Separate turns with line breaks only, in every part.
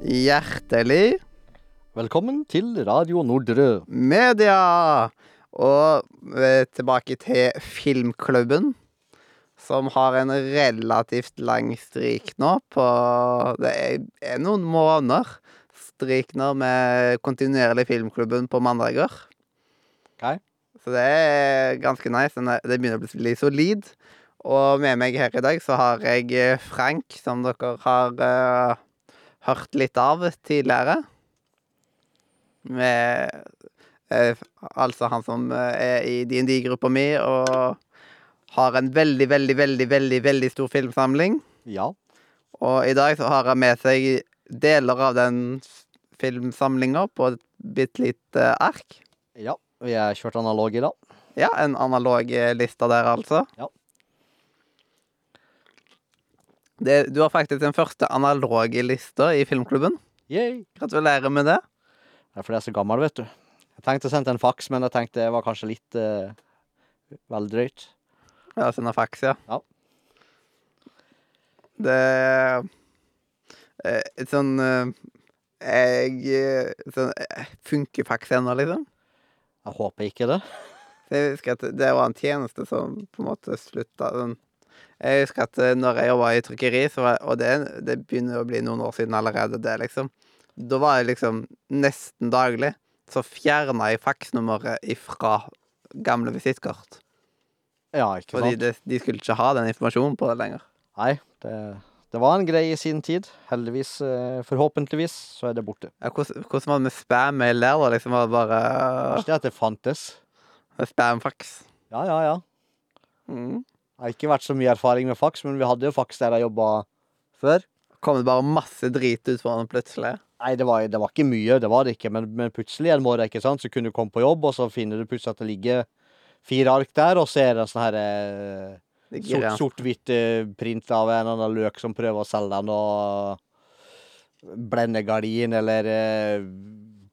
hjertelig
Velkommen til Radio Nordre.
media! Og eh, tilbake til Filmklubben, som har en relativt lang strik nå på Det er, er noen måneder strik nå med kontinuerlig Filmklubben på mandager.
Ok.
Så det er ganske nice. Den er- Det begynner å bli solid. Og med meg her i dag så har jeg eh, Frank, som dere har eh, hørt litt av tidligere. Med eh, Altså han som eh, er i D&D-gruppa mi og har en veldig, veldig, veldig, veldig, veldig stor filmsamling.
Ja,
Og i dag så har han med seg deler av den filmsamlinga på et bitte lite ark.
ja. Jeg kjørte analog i dag.
Ja, en analog eh, lista der, altså.
Ja.
Det, du har faktisk den første analoge lista i filmklubben.
Yay.
Gratulerer med det.
Det er fordi jeg er så gammel, vet du. Jeg tenkte å sende en faks, men jeg tenkte det var kanskje litt eh, vel drøyt.
Ja, sender fax, ja.
Ja.
Det eh, et Sånn eh, Jeg eh, sånn, eh, Funker fax ennå, liksom?
Jeg håper ikke det.
Jeg husker at det var en tjeneste som på en måte slutta sånn. Jeg husker at eh, når jeg jobba i trykkeri, så var, og det, det begynner å bli noen år siden allerede, det liksom Da var jeg liksom nesten daglig Så fjerna jeg faksnummeret ifra gamle visittkort.
Ja, ikke
Fordi
sant?
det, de skulle ikke ha den informasjonen på det lenger.
Nei, det, det var en greie i sin tid. Heldigvis, eh, forhåpentligvis, så er det borte.
Ja, hvordan, hvordan var det med spam-mail der? da? Liksom var det bare eh,
Kanskje det at det fantes.
spam-fax?
Ja, ja, ja.
Mm.
Jeg har ikke vært så mye erfaring med faks, men vi hadde jo faks der jeg jobba før.
Kom det bare masse drit ut for den plutselig?
Nei, det var, det var ikke mye, det var det ikke, men, men plutselig en morgen, ikke sant, så kunne du komme på jobb, og så finner du plutselig at det ligger fire ark der, og så er det en sånn her eh,
Det gir
sort-
jeg.
sort-hvitt eh, print av en eller annen løk som prøver å selge den, og blendegardin, eller eh,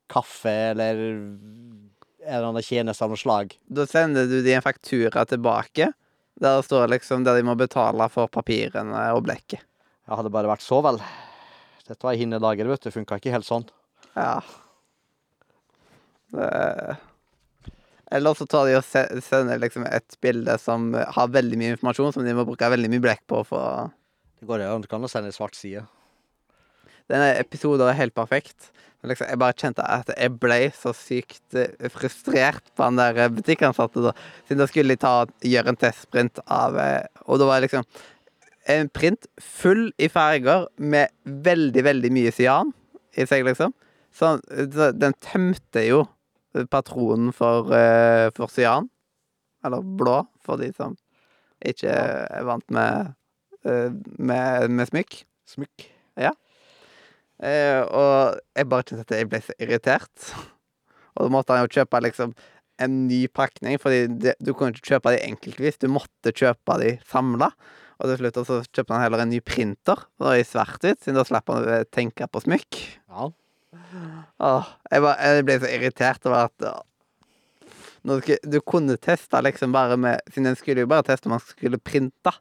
kaffe, eller en eller annen tjeneste av noe slag.
Da sender du de en faktura tilbake, der det står liksom der de må betale for papirene og blekket.
Jeg hadde bare vært så vel. Dette var i hinne dager, vet du, funka ikke helt sånn.
Ja. Det- Eller så tar de og se- sender liksom et bilde som har veldig mye informasjon, som de må bruke veldig mye blekk på. for...
Det går an, du kan jo sende i svart side.
Denne episoden er helt perfekt. Men Liksom, jeg bare kjente at jeg ble så sykt eh, frustrert på han der eh, butikkansatte. da. Siden da skulle de ta, gjøre en testprint av eh, Og da var det liksom en print full i farger med veldig, veldig mye cyan i seg, liksom. Så han- så den tømte jo patronen for, eh, for cyan. Eller blå, for de som ikke er vant med, eh, med, med smykk.
Smykk.
Eh, og jeg bare kjente at jeg ble så irritert. Og da måtte han jo kjøpe liksom en ny pakning, Fordi det, du kunne ikke kjøpe de enkeltvis. Du måtte kjøpe de samla. Og til slutt så kjøpte han heller en ny printer, og da i svart-hvitt, siden da slapp han å tenke på smykk.
Ja.
Åh, jeg, bare, jeg ble så irritert over at åh. Når du, skulle, du kunne teste liksom bare med Siden en skulle jo bare teste om man skulle printe.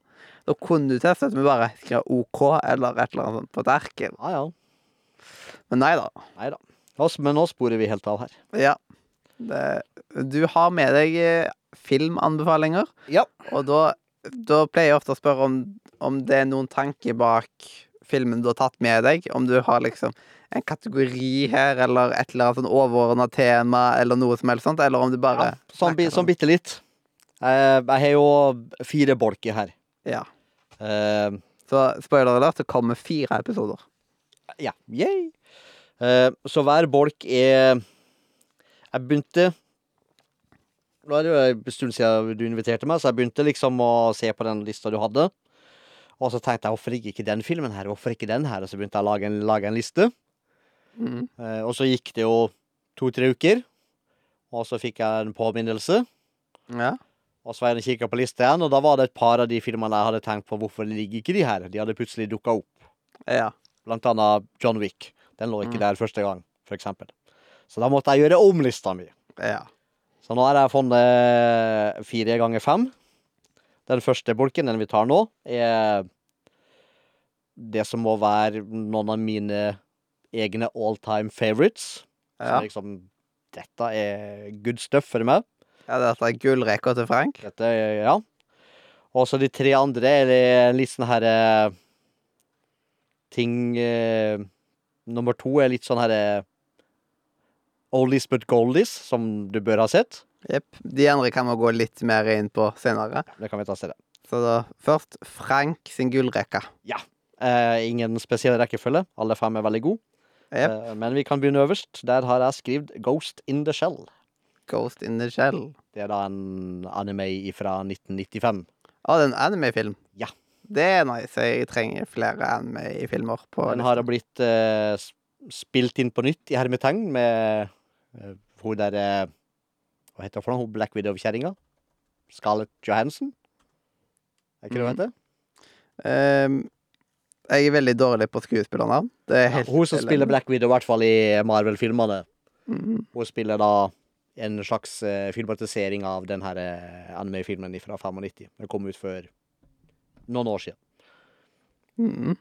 Da kunne du teste at vi bare skrev OK eller et eller annet sånt på et ark.
Ja, ja.
Men nei da.
Nei da. Men nå sporer vi helt av her.
Ja. Det, du har med deg eh, filmanbefalinger,
Ja.
og da, da pleier jeg ofte å spørre om, om det er noen tanke bak filmen du har tatt med deg. Om du har liksom en kategori her, eller et eller annet sånn overordna tema, eller noe som helst sånt, eller om du bare
sånn, bi, sånn bitte litt. Eh, jeg har jo fire bolker her.
Ja.
Eh,
Så spoiler alert, det kommer fire episoder.
ja. Yay. Eh, så hver bolk er Jeg begynte Nå er det jo en stund siden du inviterte meg, så jeg begynte liksom å se på den lista du hadde. Og så tenkte jeg hvorfor gikk ikke den filmen her, hvorfor ikke den her? Og så begynte jeg å lage en, lage en liste.
Mm.
Eh, og så gikk det jo to-tre uker, og så fikk jeg en påminnelse.
Ja.
Og så var jeg kikka på lista igjen, og da var det et par av de filmene jeg hadde tenkt på hvorfor ligger ikke de her. De hadde plutselig dukka opp.
ja.
Blant annet John Wick. Den lå ikke
Mm.
der første gang, for eksempel. Så da måtte jeg gjøre om lista mi.
Ja.
Så nå har jeg funnet fire ganger fem. Den første bolken, den vi tar nå, er det som må være noen av mine egne all time favorites.
Ja.
Så liksom Dette er good stuff for meg.
ja, dette er gullrekka til Frank.
Dette er Ja. Og så de tre andre er litt sånn her eh, Ting eh, Nummer to er litt sånn her eh, Oldies but goldies, som du bør ha sett.
Jepp. De andre kan vi gå litt mer inn på senere.
Det kan vi ta senere.
Så da først Frank sin gullrekke.
Eh, ingen spesiell rekkefølge. Alle fem er veldig gode.
Jep.
Eh, men vi kan begynne øverst. Der har jeg skrevet Ghost in the Shell.
Ghost in the Shell.
Det er da en anime fra 1995.
Å, det er en anime-film.
Ja.
Det er nice. Jeg trenger flere anime-filmer på
Den har da blitt eh, s- spilt inn på nytt i hermetegn med eh, hun der eh, Hva heter hun for noe? Hun Black Widow-kjerringa? Scarlett Johansson? Er ikke det hun
Mm.
heter?
Ehm, jeg er veldig dårlig på skuespillernavn. Det er
Ja,
helt
hun som spiller Black Widow, i hvert fall i Marvel-filmene.
Mhm.
Hun spiller da en slags eh, filmatisering av den her eh, anime-filmen fra 95. Den kom ut for noen år siden.
Mhm.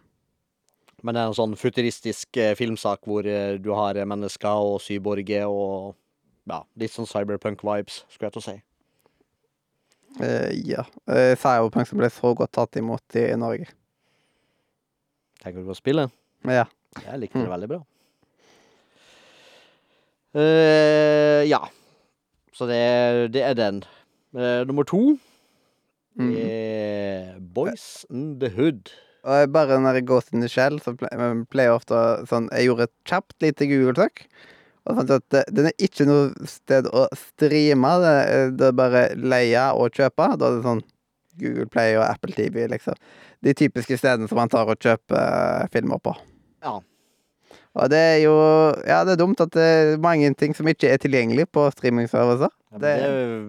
Men det er en sånn futuristisk eh, filmsak hvor eh, du har eh, mennesker og syborge og ja, litt sånn cyberpunk-vibes, skulle jeg til å si.
Eh, ja. Uh, Cyberpunk som ble så godt tatt imot i Norge.
Tenker du på spillet?
Ja.
Jeg likte
Mm.
det veldig bra. Eh, ja. Så det, det er den. Eh, nummer to
Mhm.
er Boys in the Hood.
Og jeg bare når jeg går til en Shell, så ple- men pleier jeg ofte å- sånn Jeg gjorde et kjapt lite Google-søk, og fant ut at det- den er ikke noe sted å streame. Det er, det er bare leie og kjøpe. Da er det sånn Google Play og Apple TV, liksom. De typiske stedene som man tar og kjøper eh, filmer på.
Ja.
Og det er jo Ja, det er dumt at det er mange ting som ikke er tilgjengelig på streamingservicer.
Ja, men
Det-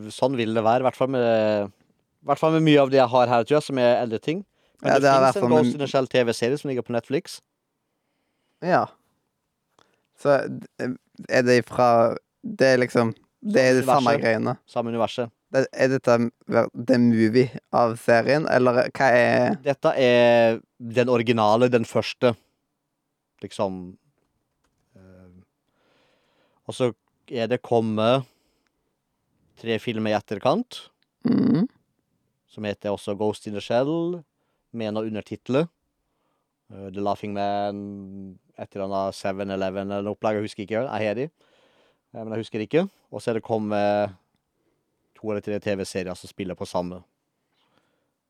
det, sånn vil det være, i hvert fall med, i hvert fall med mye av det jeg har her, tror jeg, som er eldre ting. Men
Ja,
det,
det sånn er i hvert
finnes
fall
en Ghost
med-
in the Shell TV-serie som ligger på Netflix.
Ja. Så d- er det ifra Det er liksom Det er det samme
Universet.
greiene.
Samme universet.
Det, er dette ver- the movie av serien, eller hva er
Dette er den originale, den første. Liksom eh, Og så er det kommet tre filmer i etterkant,
mm.
som heter også Ghost in the Shell, med noen undertitler. Eh, The Laughing Man, et eller annet 7-Eleven eller noe opplag, jeg husker ikke. Jeg har de, Eh, men jeg husker ikke. Og så er det kommet to eller tre TV-serier som spiller på samme.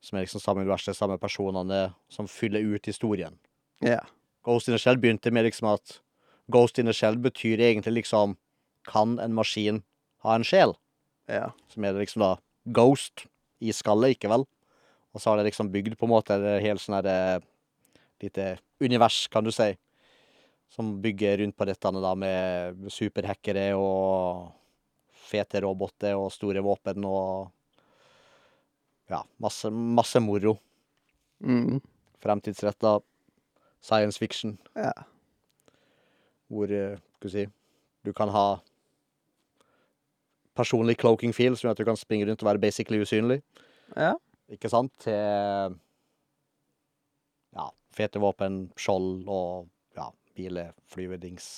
Som er liksom samme universet, samme personene, som fyller ut historien.
Ja.
Ghost in the Shell begynte med liksom at Ghost in the Shell betyr egentlig liksom Kan en maskin ha en sjel?
Ja.
Som er liksom da Ghost i skallet, ikke vel? Og så har det liksom bygd på en måte et helt sånn her eh, lite univers, kan du si. Som bygger rundt på dette da med superhackere og fete roboter og store våpen og Ja, masse, masse moro.
Mm.
Fremtidsretta science fiction.
Ja.
Hvor eh, skal vi si Du kan ha personlig cloaking feel, som gjør at du kan springe rundt og være basically usynlig.
ja.
ikke sant, til ja, fete våpen, skjold og ja, biler, flyvedings,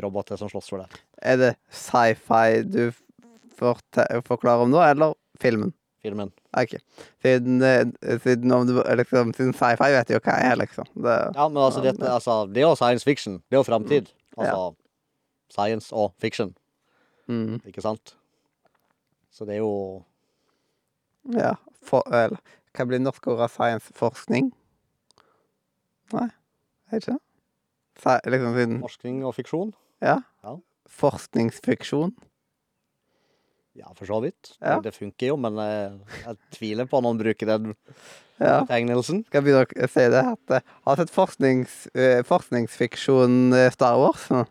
roboter som slåss for det.
Er det sci-fi du f- forte- forklarer om nå, eller filmen?
Filmen.
OK. Siden, eh, siden, om du, liksom, siden sci-fi vet jeg jo hva er, liksom. Det,
Ja, men altså, dette, altså det er jo science fiction. Det er jo framtid. Altså science og fiction,
mm.
ikke sant? Så det er jo
Ja. For, eller hva blir norske ord av science-forskning? Nei, er det ikke det? Sci liksom siden
forskning og fiksjon.
Ja.
Ja.
Forskningsfiksjon.
Ja, for så vidt.
Ja.
Det funker jo, men eh, jeg tviler på om noen bruker den
Ja.
tegnelsen.
Skal jeg begynne å si det? At eh, har du sett forsknings, eh, forskningsfiksjon eh, Star Wars? nå?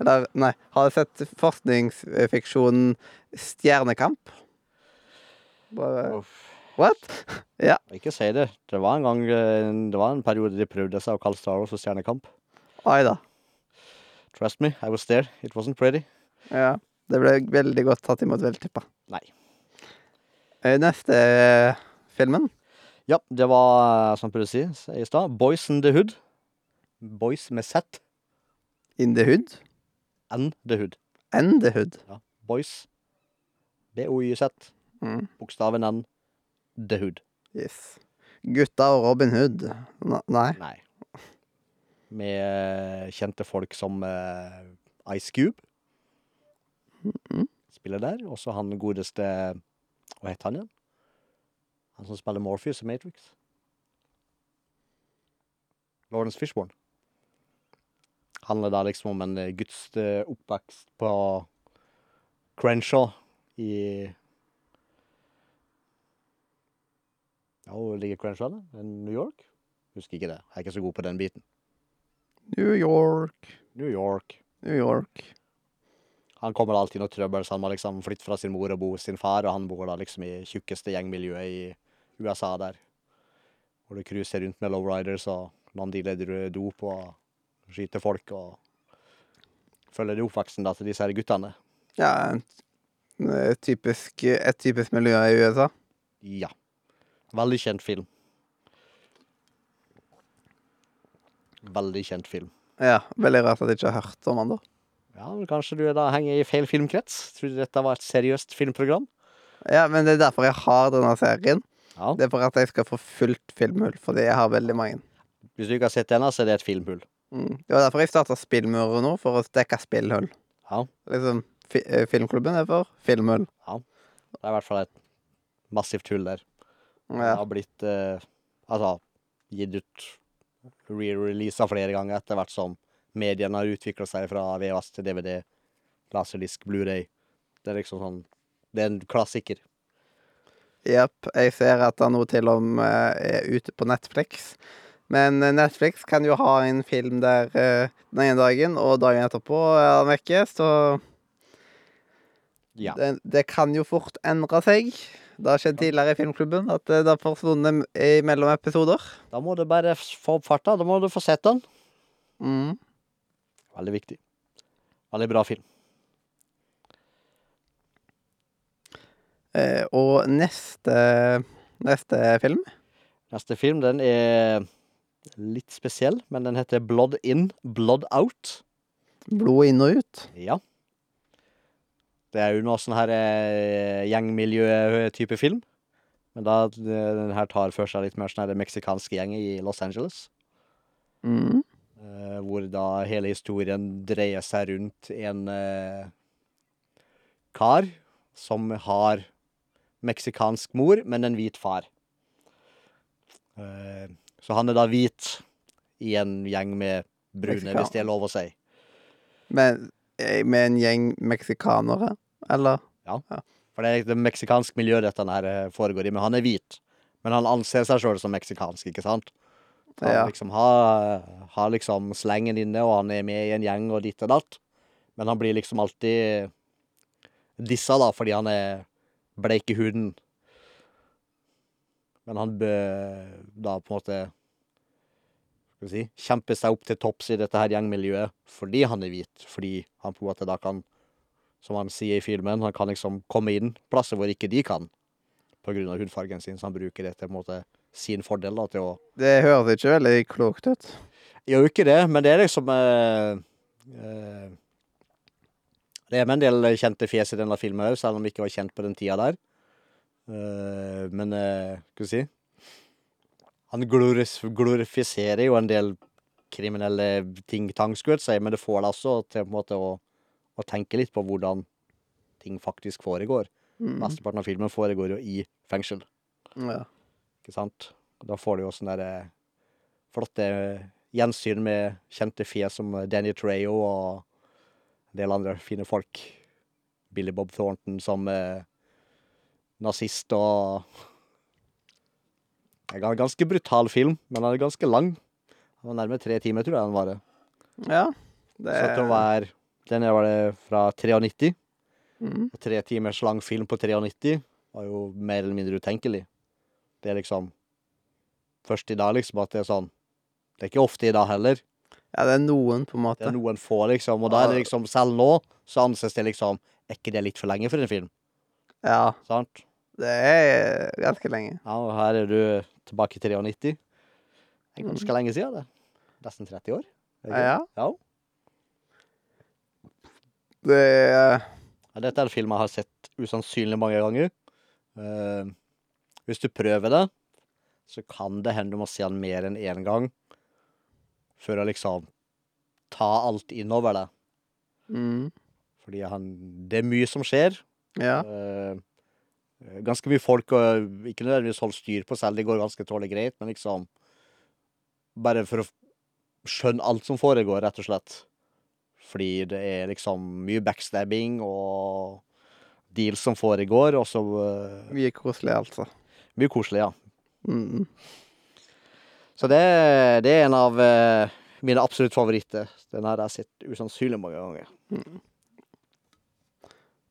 Eller, nei. Har du sett forskningsfiksjon Stjernekamp? Bare What?
Ikke si det. Det var en gang eh, Det var en periode de prøvde seg å kalle Star Wars for Stjernekamp.
Oi da.
Trust me, I was there. It wasn't pretty.
Ja. Det ble veldig godt tatt imot, vil jeg tippe.
Nei.
Eh, Neste eh, filmen.
Ja, det var eh, som jeg prøvde å si i stad. Boys in the Hood. Boys med Z.
In the hood?
And The Hood.
And the hood.
Boys. B-O-Y-Z.
Mm.
Bokstaven N. The Hood.
Yes. Gutta og Robin Hood. N nei.
Nei. Med eh, kjente folk som eh, Ice Cube.
Mhm.
Spiller der. Og så han godeste Hva heter han igjen? Han som spiller Morpheus i Matrix. Lawrence Fishborn. Handler da liksom om en eh, guds eh, oppvekst på Crenshaw i Ja, hvor ligger Crenshaw, da? New York? Husker ikke det. Jeg er ikke så god på den biten.
New York,
New York.
New York.
Han kommer da alltid i noe trøbbel, så han må liksom flytte fra sin mor og bo hos sin far, og han bor da liksom i tjukkeste gjengmiljøet i USA der. Hvor du cruiser rundt med lowriders og noen dealer dop og skyter folk og følger de oppveksten da til disse her guttene.
Ja, en- en typisk, et typisk miljø i USA.
Ja. Veldig kjent film. Veldig kjent film.
Ja, Veldig rart at jeg ikke har hørt om han da.
Ja, men kanskje du da henger i feil filmkrets? Tror du dette var et seriøst filmprogram?
Ja, Men det er derfor jeg har denne serien.
Ja.
Det er for at jeg skal få fullt filmhull, fordi jeg har veldig mange.
Hvis du ikke har sett denne, så er det et filmhull.
Mm. Det var derfor jeg starta Spillmuren nå, for å dekke spillhull.
Ja.
Liksom, fi eh, Filmklubben er for filmhull.
Det er i hvert fall et massivt hull der. Det
Ja.
har blitt eh, altså, gitt ut re-releasa flere ganger etter hvert som mediene har utvikla seg fra VHS til DVD, laserdisk, Blu-ray. Det er liksom sånn Det er en klassiker.
Jepp. Jeg ser at han nå til og med eh, er ute på Netflix. Men eh, Netflix kan jo ha en film der eh, den ene dagen, og dagen etterpå er han vekke, så
Ja.
det, det kan jo fort endre seg. Det har skjedd tidligere i Filmklubben at eh, det har forsvunnet m- mellom episoder.
Da må du bare f- få opp farta. Da må du få sett den.
Mm.
Veldig viktig. Veldig bra film.
Eh, og neste, neste film
Neste film, den er litt spesiell, men den heter Blood In, Blood Out.
Blod inn og ut.
Ja. Det er jo noe sånn her eh, gjengmiljø-type film. Men da eh, den her tar for seg litt mer sånn her meksikanske gjeng i Los Angeles.
Mm.
Eh, hvor da hele historien dreier seg rundt en eh, kar som har meksikansk mor, men en hvit far. Eh, så han er da hvit i en gjeng med brune,
Meksikan-
hvis det er lov å si.
Men eh, med en gjeng meksikanere, eller?
For det er det meksikanske miljøet dette her eh, foregår i, men han er hvit. Men han anser seg sjøl som meksikansk, ikke sant? Han
Ja.
liksom har, har liksom slengen inne, og han er med i en gjeng og ditt og datt. Men han blir liksom alltid dissa, da, fordi han er bleik i huden. Men han bø, da på en måte skal vi si, kjemper seg opp til topps i dette her gjengmiljøet fordi han er hvit. Fordi han på en måte da kan, som han sier i filmen, han kan liksom komme inn plasser hvor ikke de kan. På grunn av hudfargen sin, så han bruker det til på en måte sin fordel da, til å
Det høres ikke veldig klokt ut.
gjør jo ikke det, men det er liksom eh, eh, Det er med en del kjente fjes i denne filmen òg, selv om vi ikke var kjent på den tida der. Eh, men eh, skal vi si Han gloris, glorifiserer jo en del kriminelle ting tang, skulle jeg si, men det får deg også til på en måte å, å tenke litt på hvordan ting faktisk foregår.
Mm.
Mesteparten av filmen foregår jo i fengsel.
Ja.
Ikke sant? Og Da får du jo sånne der, eh, flotte eh, gjensyn med kjente fjes som eh, Danny Trejo og en del andre fine folk. Billy Bob Thornton som eh, nazist og Det er en ganske brutal film, men den er ganske lang. Den var nærmere tre timer, tror jeg den varer.
ja. Det
Så til å være Den er var det fra 93.
mm.
Og tre timers lang film på 93 var jo mer eller mindre utenkelig. Det er liksom Først i dag, liksom, at det er sånn Det er ikke ofte i dag heller.
Ja, det er noen, på en
Det
måte.
er noen få, liksom. Og da er det liksom Selv nå så anses det liksom Er ikke det litt for lenge for en film?
Ja,
Sant?
det er eh, ganske lenge.
Ja, og her er du tilbake i 93. Det er ganske lenge siden, det. Nesten 30 år. er det ikke?
Ja.
ja.
Det eh,
Ja, dette er en film jeg har sett usannsynlig mange ganger. Eh, hvis du prøver det, så kan det hende du må se den mer enn én gang før å liksom ta alt innover deg.
mm,
Fordi han, det er mye som skjer.
Ja.
Eh, ganske mye folk, og ikke nødvendigvis holdt styr på selv. Det går ganske tålelig greit, men liksom Bare for å f- skjønne alt som foregår, rett og slett. Fordi det er liksom mye backstabbing og deals som foregår, og så eh,
Mye koselig, altså.
Mye koselig, ja.
Mm.
Så det, det er en av eh, mine absolutt favoritter. Den har jeg sett usannsynlig mange ganger.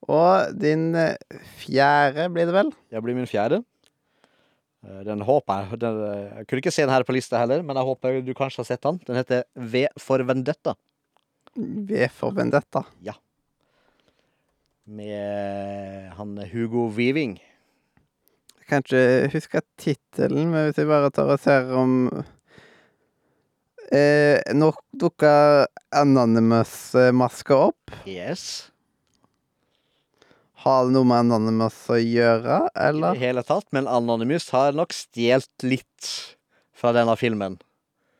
Og din eh, fjerde, blir det vel?
Det blir min fjerde. Eh, Den håper jeg den, eh, Jeg kunne ikke se den her på lista heller, men jeg håper du kanskje har sett den. Den heter V for Vendetta.
V for Vendetta.
Med han Hugo Weaving.
Jeg kan ikke huske tittelen, men hvis jeg bare tar og ser om eh, Nå dukka Anonymous-maska opp.
Yes.
Har det noe med Anonymous å gjøre,
I det
eller?
hele tatt. Men Anonymous har nok stjålet litt fra denne filmen.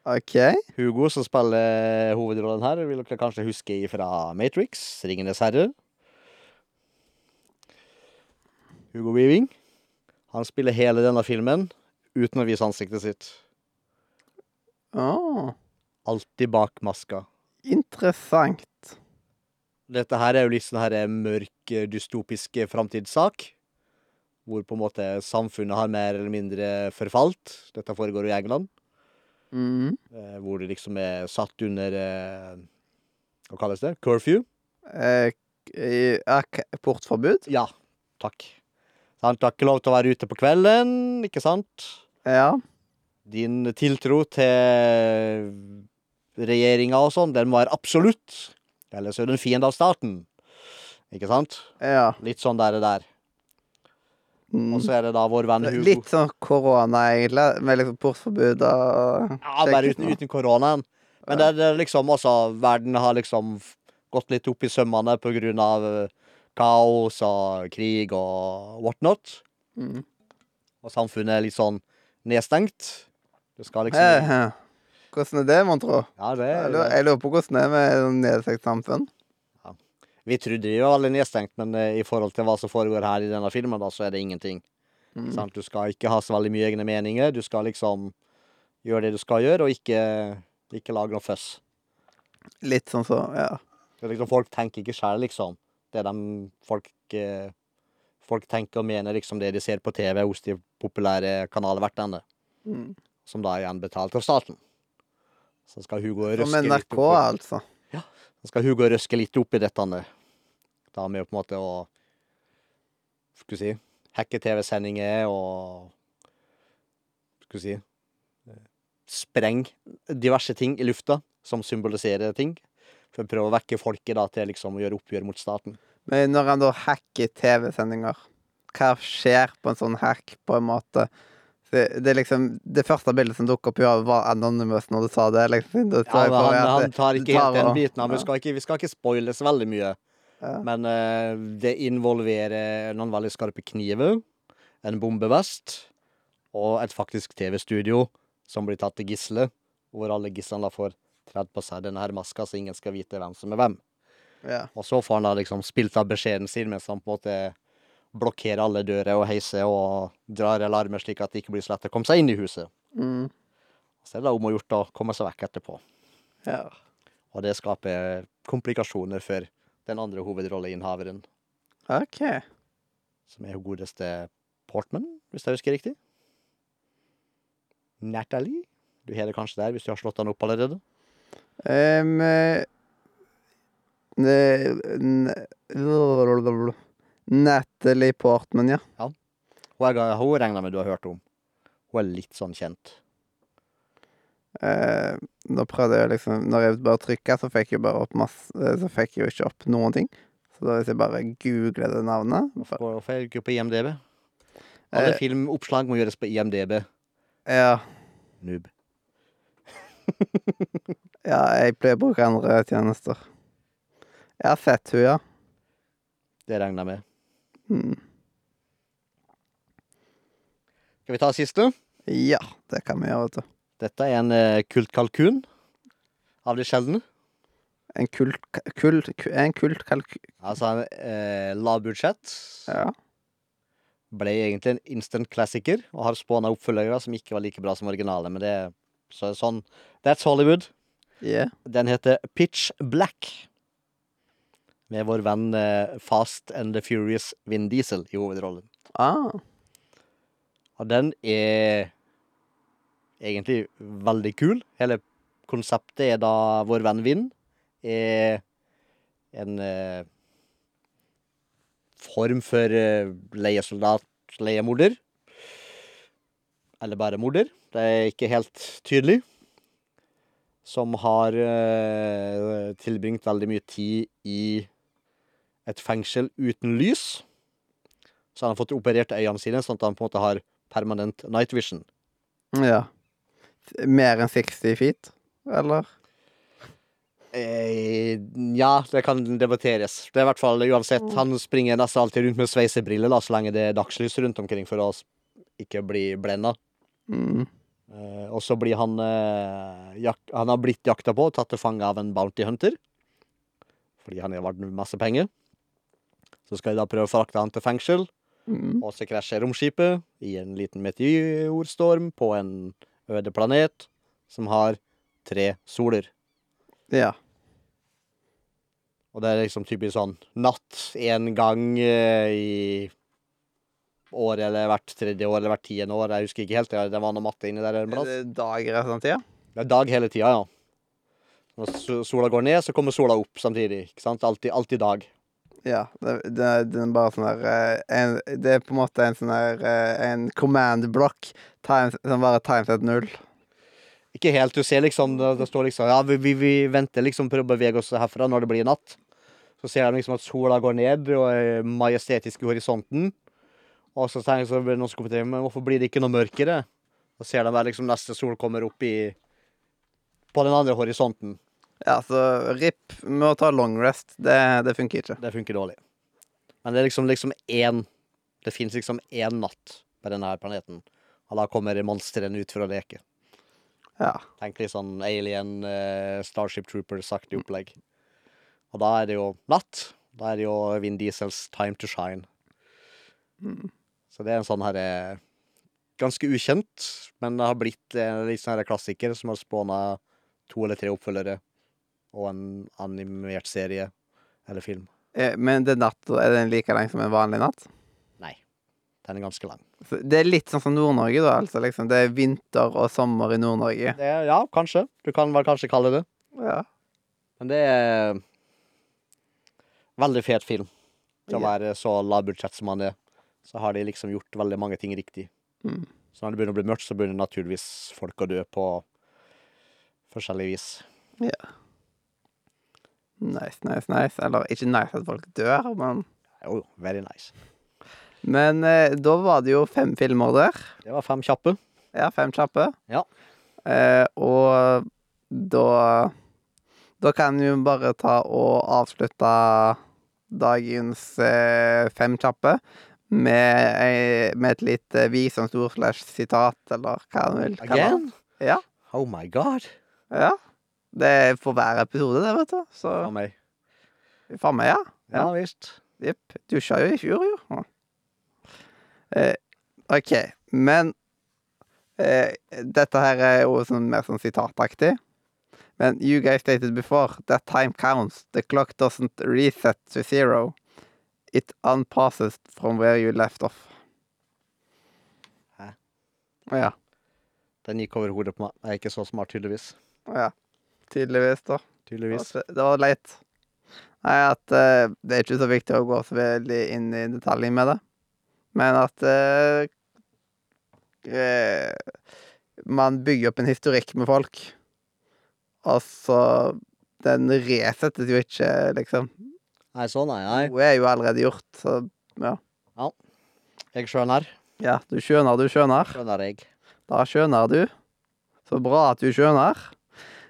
OK.
Hugo, som spiller hovedrollen her, vil dere kanskje huske fra Matrix, Ringenes herre. Hugo Weaving. Han spiller hele denne filmen uten å vise ansiktet sitt.
Å,
Alltid bak maska.
interessant.
Dette her er jo litt sånn her mørk, eh, dystopisk framtidssak. Hvor på en måte samfunnet har mer eller mindre eh, forfalt. Dette foregår jo i England.
Mm.
eh, Hvor det liksom er satt under eh, Hva kalles det? Curfew?
Eh, k- i- ja, k- portforbud?
Ja, takk. Sant? Du har ikke lov til å være ute på kvelden, ikke sant?
Ja.
Din tiltro til regjeringa og sånn, den må være absolutt. Ellers er du en fiende av staten. Ikke sant?
ja.
Litt sånn der, der.
Mm.
Og så er det da vår venn Hugo.
Litt sånn korona, egentlig, med liksom portforbud og
Ja, bare uten, uten koronaen. Men det, det er liksom også Verden har liksom f- gått litt opp i sømmene på grunn av eh, kaos og krig og whatnot.
Mm.
Og samfunnet er litt sånn nedstengt. Det skal liksom
Eh, Hvordan er det, mon tro?
Ja,
Jeg
det
lurer jeg lurer på hvordan det er med sånn nedstengt samfunn.
Vi trodde det var veldig nedstengt, men eh, i forhold til hva som foregår her i denne filmen, da, så er det ingenting.
Mm.
Sant? Du skal ikke ha så veldig mye egne meninger. Du skal liksom gjøre det du skal gjøre, og ikke, ikke lage noe føss.
Litt sånn så, ja.
Det er liksom, folk tenker ikke sjøl, liksom. Det er dem folk eh, Folk tenker og mener liksom det de ser på TV hos de populære kanalvertene,
Mm.
som da igjen betalt av staten. Så skal Hugo røske
Som
litt
NRK,
opp,
altså.
så skal Hugo røske litt opp i dette. ne. Da med på en måte å Skal vi si Hacke TV-sendinger og Skal vi si eh, Spreng diverse ting i lufta som symboliserer ting. For å prøve å vekke folket da til liksom å gjøre oppgjør mot staten.
Men når han da hacker TV-sendinger, hva skjer på en sånn hack, på en måte? Det, det er liksom Det første bildet som dukket opp i år, var Anonymous når du sa det. liksom. Da
Ja,
så jeg
men
for
han,
meg at
han
det-
tar
du
ikke helt
tar
den
og-
biten. Han, vi,
ja.
skal ikke, vi skal ikke spoiles veldig mye.
Ja.
Men eh, det involverer noen veldig skarpe kniver, en bombevest og et faktisk TV-studio som blir tatt til gisle, hvor alle gislene da får tredd på seg denne her maska, så ingen skal vite hvem som er hvem.
ja.
Og så får han da liksom spilt av beskjeden sin mens han på en måte blokkerer alle dører og heiser og drar alarmer slik at det ikke blir så lett å komme seg inn i huset.
Mm.
Så er det da om å gjort å komme seg vekk etterpå.
ja.
Og det skaper komplikasjoner for den andre hovedrolleinnehaveren,
OK.
som er hun godeste Portman, hvis jeg husker riktig. Natalie? Du har det kanskje der, hvis du har slått han opp allerede?
Um, Natalie Portman, ja.
Hun, er, hun regner med du har hørt om. Hun er litt sånn kjent.
Eh, Nå prøvde jeg liksom Når jeg bare trykka, så fikk jeg bare opp masse eh, Så fikk jeg jo ikke opp noen ting. Så da hvis jeg bare googler det navnet for,
Hvorfor er du ikke på IMDb? Alle
Eh.
filmoppslag må gjøres på IMDb.
ja,
Noob.
ja, jeg pleier å bruke andre tjenester. Jeg har sett hun, ja.
Det regner jeg med.
Hmm.
Skal vi ta siste?
Ja, det kan vi gjøre, vet du.
Dette er en eh, kultkalkun. Av de sjeldne.
En kult, kult, ku- en kult kalk...
Altså en eh, lav budsjett.
Ja.
Ble egentlig en instant classicer, og har spåna oppfølgere som ikke var like bra som originale. Men det så er det sånn That's Hollywood.
Yeah.
Den heter Pitch Black. Med vår venn eh, Fast and the Furious Vin Diesel i hovedrollen.
Ah.
Og den er egentlig veldig kul. Hele konseptet er da vår venn Vinn er en eh, form for eh, leiesoldat, leiemorder. Eller bare morder. Det er ikke helt tydelig. Som har eh, tilbringt veldig mye tid i et fengsel uten lys. Så han har fått operert øynene sine, sånn at han på en måte har permanent night vision.
Ja. Mer enn 60 feet, eller?
Eh, ja, det kan debatteres. Det er i hvert fall uansett. Han springer nesten alltid rundt med sveisebriller, da, så lenge det er dagslys rundt omkring, for å s- ikke bli blenda.
Mm.
Eh, og så blir han eh, jak Han har blitt jakta på og tatt til fange av en bounty hunter. Fordi han er verdt masse penger. Så skal de da prøve å frakte han til fengsel.
Mm.
Og så krasjer romskipet i en liten meteorstorm på en øde planet som har tre soler.
Ja.
Og det er liksom typisk sånn natt en gang eh, i året eller hvert tredje år eller hvert tiende år. Jeg husker ikke helt. ja, Det var noe matte inni der. en
Er
plass.
det dager og sånt, ja?
Det er dag hele tida, ja. Når so- sola går ned, så kommer sola opp samtidig. ikke sant? Alltid, alltid dag.
Ja. Det, det, det er bare sånn der eh, en, Det er på en måte en sånn der eh, En command-blokk times- som bare timeset null.
Ikke helt. Du ser liksom Det, det står liksom Ja, vi, vi, vi venter liksom for å bevege oss herfra når det blir natt. Så ser de liksom at sola går ned, og er majestetisk i horisonten. Og så tenker jeg så blir det noen som kommer til Men hvorfor blir det ikke noe mørkere? Så ser de at liksom neste sol kommer opp i På den andre horisonten.
Ja, så RIP med å ta long rest, det, det funker ikke.
Det funker dårlig. Men det er liksom liksom én Det fins liksom én natt på denne her planeten. Og da kommer monstrene ut for å leke.
Ja.
Tenk litt sånn Alien, eh, Starship Troopers-aktig opplegg. Og da er det jo natt. Da er det jo Vin Diesels Time to Shine. Så det er en sånn her eh, Ganske ukjent, men det har blitt en litt sånn her klassiker som har spåna to eller tre oppfølgere og en animert serie eller film.
Eh, Men den natta, er den like lang som en vanlig natt?
Nei. Den er ganske lang.
Så det er litt sånn som Nord-Norge, da. altså liksom, Det er vinter og sommer i Nord-Norge.
Det, ja, kanskje. Du kan vel kanskje kalle det det.
Ja.
Men det er Veldig fet film. Til å
Ja.
være så lav budsjett som han er. Så har de liksom gjort veldig mange ting riktig.
Mm.
Så når det begynner å bli mørkt, så begynner naturligvis folk å dø på forskjellig vis.
Nice, nice, nice. Eller ikke nice at folk dør, men
Jo, jo, very nice.
Men eh, da var det jo fem filmer der.
Det var fem kjappe.
Ja, fem kjappe.
Ja.
Eh, og da Da kan vi jo bare ta og avslutte dagens eh, fem kjappe med, ei- med et lite visdomsord slash sitat, eller hva du vil kalle det.
Again?
Ja.
Oh my god.
Ja. Det er for hver episode, det, vet du. Så
For meg.
faen meg, ja.
Ja visst.
Jepp. Dusja jo i fjor, jo. Eh, OK, men eh, Dette her er jo sånn, mer sånn sitataktig. Men you guys stated before that time counts. The clock doesn't reset to zero. It unpasses from where you left off.
Hæ?
Å ja.
Den gikk over hodet på meg. Jeg er ikke så smart, tydeligvis.
Å ja. Tydeligvis, da.
Tydeligvis.
Det var- Det var leit. Nei, at eh, det er ikke så viktig å gå så veldig inn i detaljer med det. Men at eh, eh, Man bygger opp en historikk med folk. Og så Den resettes jo ikke, liksom.
Nei, sånn så nei, nei.
Noe er jo allerede gjort, så
Jeg skjønner.
ja, du skjønner, du skjønner.
Skjønner jeg.
Da skjønner du. Så bra at du skjønner.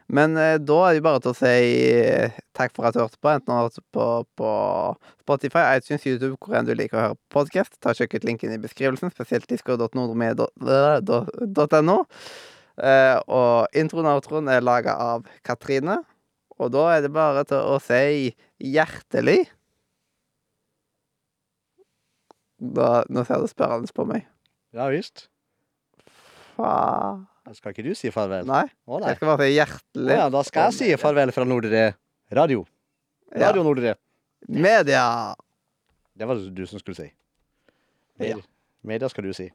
Men eh, da er det bare til å si eh, Takk for at du hørte på, enten du har hørt på, på Spotify, iTunes, YouTube, hvor enn du liker å høre på podkast. Ta og Sjekk ut linken i beskrivelsen, spesielt discord.nordmedia.no. Eh, og introen og outroen er laga av Katrine. Og da er det bare til å si hjertelig da, Nå ser du spørrende på meg.
Ja visst.
Fa...
Skal ikke du si farvel?
Nei,
Å nei.
jeg skal bare si
Å
hjertelig.
ja, da skal jeg si farvel fra Nordre Radio.
Ja.
Radio Nordre.
Media!
Det var det du som skulle si.
Ja.
Media skal du si.